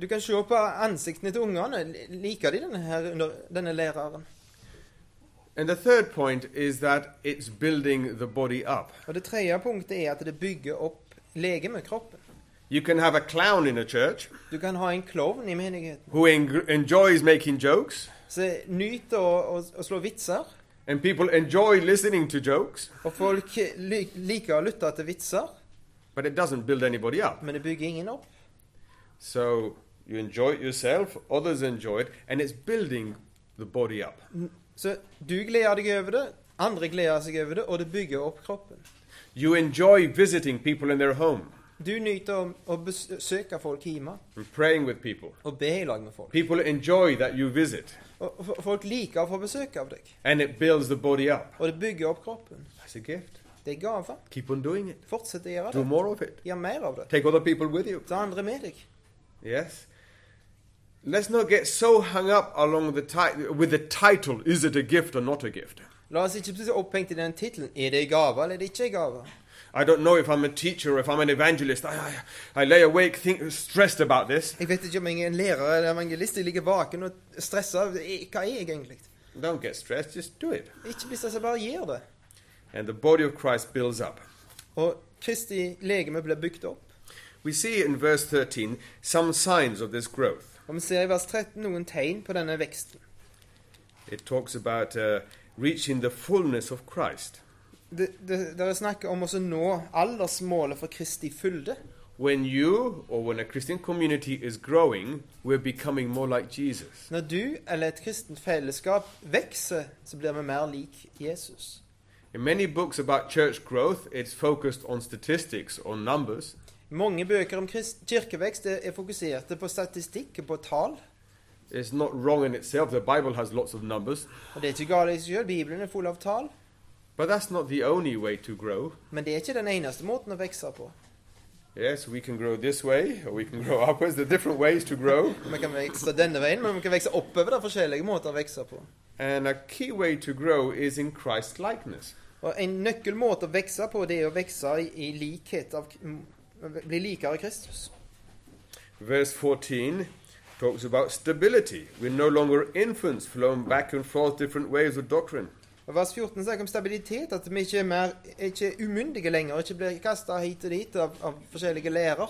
Du kan se på ansiktene til ungene. Liker de denne, her, under, denne læreren? And the third point is that it's building the body up. Og det tredje punktet er at det bygger opp legemet, kroppen. You can have a clown in a church Du kan ha en klovn i menigheten who en- enjoys making jokes, som nyter å, å, å slå vitser. and people enjoy listening to jokes, Og folk lik- liker å lytte til vitser, but it doesn't build anybody up. men det bygger ingen opp. So you enjoy it yourself, others enjoy it, and it's building the body up. Så du gleder deg over det, andre gleder seg over det, og det bygger opp kroppen. You enjoy visiting people in their home Du nyter å, å besøke folk hjemme and praying with people. og be i lag med folk. People enjoy that you visit, Og f- folk liker å få besøk av deg, and it builds the body up. og det bygger opp kroppen. That's a gift. Det er gaver. Keep on doing it. Fortsett å gjøre Do det. more of it. Gjør mer av det. Take other people with you. Ta andre med deg. Yes. Let's not get so hung up along the ti- with the title. Is it a gift or not a gift? La oss ikke bli så opphengt i den tittelen 'Er det en gave, eller er det ikke en gave?' I don't know if I'm a teacher or if I'm an evangelist. I, I, I lay awake, think, stressed about this. Jeg vet ikke om jeg er en lærer eller evangelist. Jeg ligger vaken og stressa. Hva er jeg egentlig? Don't get stressed. Just do it. Ikke bli stressa, bare gjør det. And the body of Christ builds up. Og Kristi legeme blir bygd opp. We see in verse 13 some signs of this growth. Og vi ser i vers 13 noen tegn på denne veksten. It talks about uh, reaching the fullness of Christ. Det, det, det er snakk om å nå aldersmålet for Kristi fylde. When you or when a Christian community is growing, we're becoming more like Jesus. Når du eller et kristent fellesskap vokser, så blir vi mer lik Jesus. In many books about church growth, it's focused on statistics or numbers, Mange bøker om krist kirkevekst er er fokuserte på statistikk og på tall. it's not wrong in itself. The Bible has lots of numbers, Og det er ikke galt i seg selv, Bibelen er full av tall. but that's not the only way to grow. Men det er ikke den eneste måten å vokse på. Yes, we can grow this way or we can grow upwards. There are different ways to grow. Vi kan vokse denne veien, men vi kan vokse oppover. Det er forskjellige måter å vokse på. And a key way to grow is in Christ likeness. Og en nøkkelmåte å vokse på, det er å vokse i, i likhet av m- Bli likere Kristus. Verse 14 talks about stability. We're no longer infants flown back and forth different waves of doctrine. Og Vers 14 snakker om stabilitet, at vi ikke er, mer, ikke er umyndige lenger, ikke blir kasta hit og dit av, av forskjellige lærer.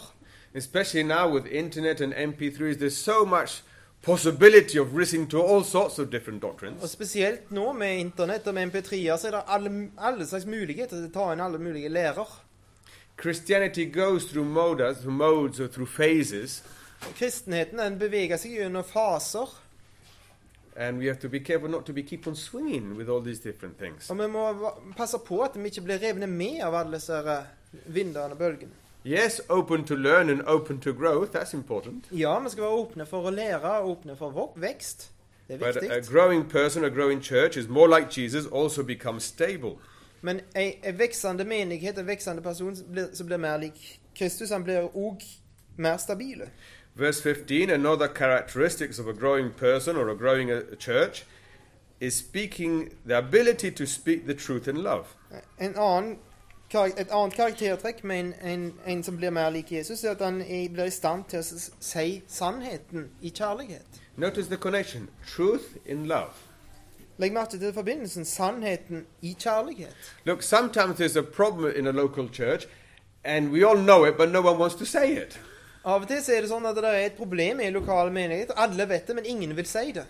especially now with internet and MP3s, there's so much possibility of listening to all sorts of different Og doctrines. spesielt nå med internett og med MP3-er, så er det alle, alle slags muligheter til å ta inn alle mulige lærer. Christianity goes through modas, through modes, or through phases, Kristenheten den beveger seg gjennom faser, and we have to be careful not to be keep on swinging with all these different things. og vi må va- passe på at vi ikke blir revne med av alle disse her, eh, vindene og bølgene. Yes, open to learn and open to growth. That's important. Ja, vi skal være åpne for å lære og åpne for vok- vekst. Det er But uh, a viktig. growing person, a growing church, is more like Jesus. Also, becomes stable. Men ei, ei veksende menighet, en veksende person som blir, som blir mer lik Kristus, han blir òg mer stabile. Verse 15, another characteristics of a growing person or a growing uh, church is speaking the ability to speak the truth in love. En annen, kar- et annet karaktertrekk med en, en, en som blir mer lik Jesus, er at han i- blir i stand til å s- si sannheten i kjærlighet. Notice the connection, truth in love. Legg merke til forbindelsen sannheten i kjærlighet. Look, sometimes there's a problem in a local church and we all know it but no one wants to say it. Av og til så er det sånn at det er et problem i lokale menigheter. Alle vet det, men ingen vil si det.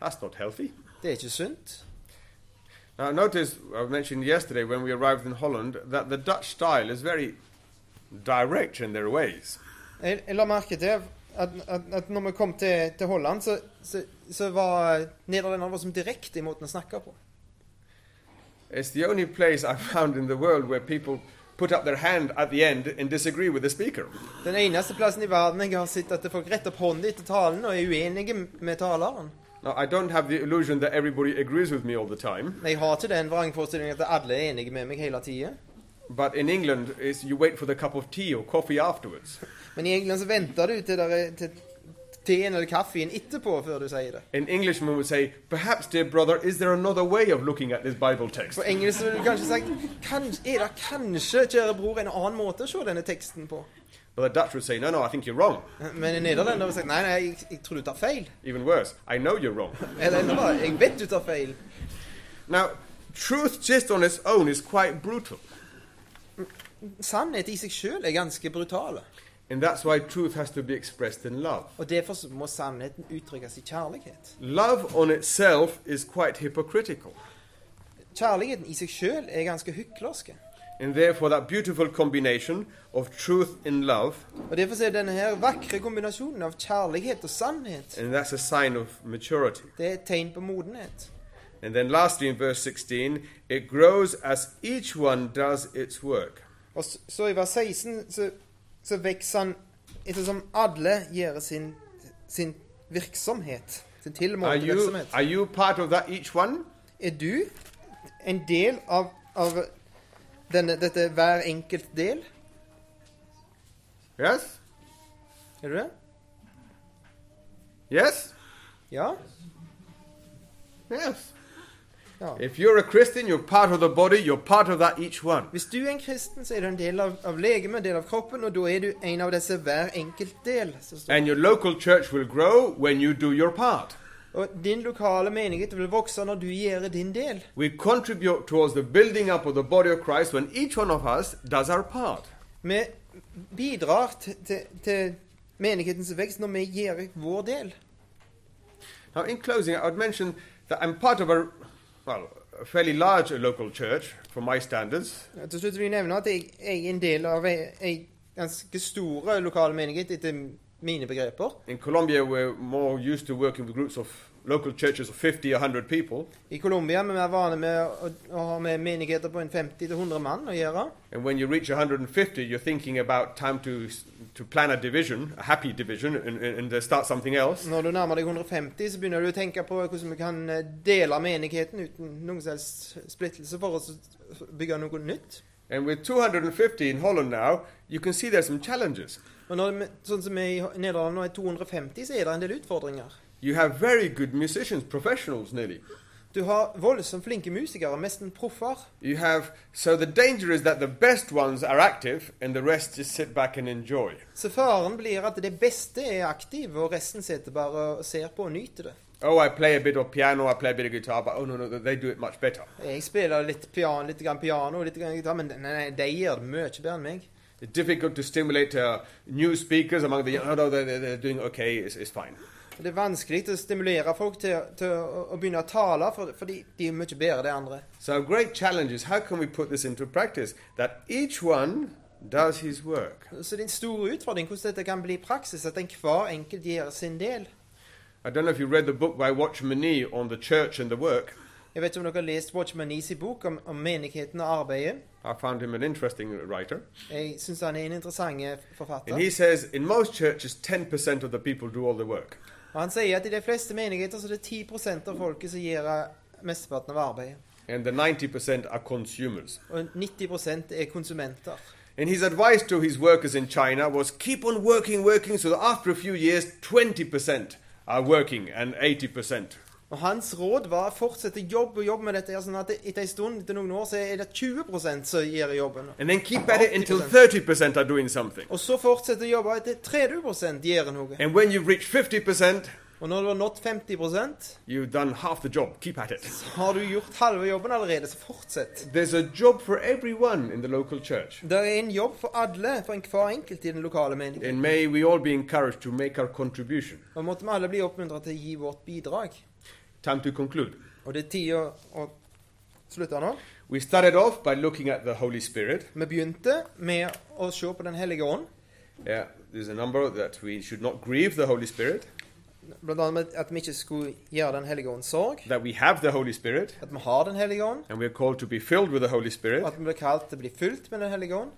That's not healthy. Det er ikke sunt. Now notice I mentioned yesterday when we arrived in Holland that the Dutch style is very direct in their ways. Jeg, jeg la merke til at, at, at når vi kom til, til Holland, så, så, så var nederlenderne var som direkte i måten å snakke på. It's the only place I've found in the world where people put up their hand at the end and disagree with the speaker. Den eneste plassen i verden jeg har sett at folk retter opp hånden etter talen og er uenige med taleren. Now, I don't have the illusion that everybody agrees with me all the time, Jeg har ikke den vrangforestillingen at alle er enige med meg hele tida. but in England, it's you wait for the cup of tea or coffee afterwards. Men i England så venter du til, der, er- til teen eller kaffen etterpå før du sier det. An Englishman would say, Perhaps, dear brother, is there another way of looking at this Bible text? På engelsk ville du kanskje sagt «Kans- Er det kanskje, kjære bror, en annen måte å se denne teksten på? But the Dutch would say, No, no, I think you're wrong. Men en nederlender ville sagt Nei, nei, jeg, jeg tror du tar feil. Even worse, I know you're wrong. Eller enda verre, jeg vet du tar feil. Now, truth just on its own is quite brutal, Sannhet i seg sjøl er ganske brutale. and that's why truth has to be expressed in love. Og derfor så må sannheten uttrykkes i kjærlighet. Love on itself is quite hypocritical. Kjærligheten i seg sjøl er ganske hyklersk. And therefore, that beautiful combination of truth and love, Og derfor så er denne her vakre kombinasjonen av kjærlighet og sannhet and that's a sign of maturity. det er et tegn på modenhet. And then, lastly, in verse 16, it grows as each one does its work. Og s- så i vers 16 så, så vokser han ettersom alle gjør sin, sin virksomhet. Sin Are tilmålte you, virksomhet. are you part of that each one? Er du en del av, av denne, dette hver enkelt del? Yes? Er du det? Yes? Ja? Yes. ja. If you're a Christian, you're part of the body, you're part of that each one. Hvis du er en kristen, så er du en del av, av legemet, en del av kroppen, og da er du en av disse hver enkelt del. som står. And your local church will grow when you do your part. Og din lokale menighet vil vokse når du gjør din del. We contribute towards the building up of the body of Christ when each one of us does our part. Vi bidrar til, til, til menighetens vekst når vi gjør vår del. Now, in closing, I would mention that I'm part of a, well, a fairly large local church for my standards, Ja, Til slutt vil jeg nevne at jeg, jeg er en del av ei, ei ganske stor eh, lokal menighet etter mine begreper. In Colombia, we're more used to working with groups of local churches of 50, 100 people. I Colombia er vi mer vane med å, å ha med menigheter på en 50-100 mann å gjøre. And when you reach 150, you're thinking about time to, to plan a division, a happy division, and, and, and uh, start something else. Når du nærmer deg 150, så begynner du å tenke på hvordan vi kan eh, dele menigheten uten noen som helst splittelse for å bygge noe nytt. And with 250 in Holland now, you can see there's some challenges. Og når, vi- sånn som vi i Nederland nå er 250, så er det en del utfordringer. You have very good musicians, professionals nearly. Du har voldsomt flinke musikere, nesten proffer. You have, so the danger is that the best ones are active and the rest just sit back and enjoy. Så faren blir at det beste er aktiv, og resten sitter bare og ser på og nyter det. Oh, I play a bit of piano, I play a bit of guitar, but oh no, no, they do it much better. Jeg spiller litt piano, litt grann piano, litt grann gitar, men nei, nei, de gjør det mye bedre enn meg. It's difficult to stimulate uh, new speakers among the young. Oh, no, they're, they're they're doing okay, it's, it's fine. Det er vanskelig å stimulere folk til, til å, å begynne å tale, for, fordi de er mye bedre, de andre. So, our great challenge is how can we put this into practice? That each one does his work. Så det er en stor utfordring hvordan dette kan bli i praksis, at enhver enkelt gjør sin del. I don't know if you read the book by Watchman Nee on the church and the work. Jeg vet ikke om dere har lest Watchman Nees i bok om, om menigheten og arbeidet. I found him an interesting writer. Jeg syns han er en interessant And forfatter. he says in most churches, 10% of the people do all the work. Og han sier at i de fleste menigheter så er det 10 av folket som gjør eh, mesteparten av arbeidet. And the 90% are consumers. Og 90 er konsumenter. And his advice to his workers in China was keep on working, working, so that after a few years, 20% are working and 80%. Og hans råd var å fortsette jobb og jobb med dette, her, sånn at etter en stund, etter noen år, så er det 20 som gjør jobben. And then keep at it until 30% are doing something. Og så fortsetter jobben etter 30 gjør noe. And when you've reached 50%, Og når du har nådd 50 you've done half the job. Keep at it. har du gjort halve jobben allerede, så fortsett. There's a job for everyone in the local church. Det er en jobb for alle, for hver enkelt i den lokale meningen. And may we all be encouraged to make our contribution. Og måtte vi alle bli oppmuntret til å gi vårt bidrag. Time to conclude. Og det er tid å, å slutte nå. We started off by looking at the Holy Spirit. Vi begynte med å se på Den hellige ånd. Yeah, there's a number that we should not grieve the Holy Spirit, Blant annet med at vi ikke skulle gjøre Den hellige ånd sorg. that we have the Holy Spirit, At vi har Den hellige ånd. and we're called to be filled with the Holy Og Spirit. at vi blir kalt til å bli fylt med Den hellige ånd.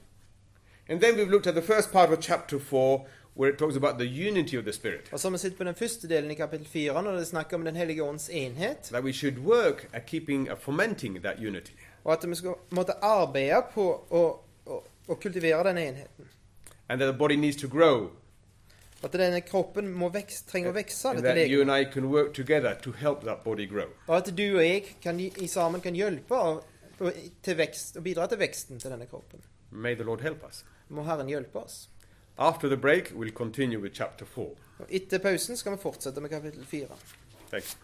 And then we've looked at the first part of chapter 4, where it talks about the unity of the Spirit, Og så har vi sett på den første delen i kapittel 4, når det er snakk om Den hellige ånds enhet. that we should work at keeping, at fomenting that unity. Og at vi skal måtte arbeide på å, å, å kultivere den enheten. And that the body needs to grow, At denne kroppen må veks, trenger å vekse. and dette that you legemet. and I can work together to help that body grow. Og at du og jeg kan, gi- i sammen kan hjelpe av- til vekst, og bidra til veksten til denne kroppen. May the Lord help us. Må Herren hjelpe oss. After the break, we'll continue with chapter 4. Og etter pausen skal vi fortsette med kapittel 4. Thanks.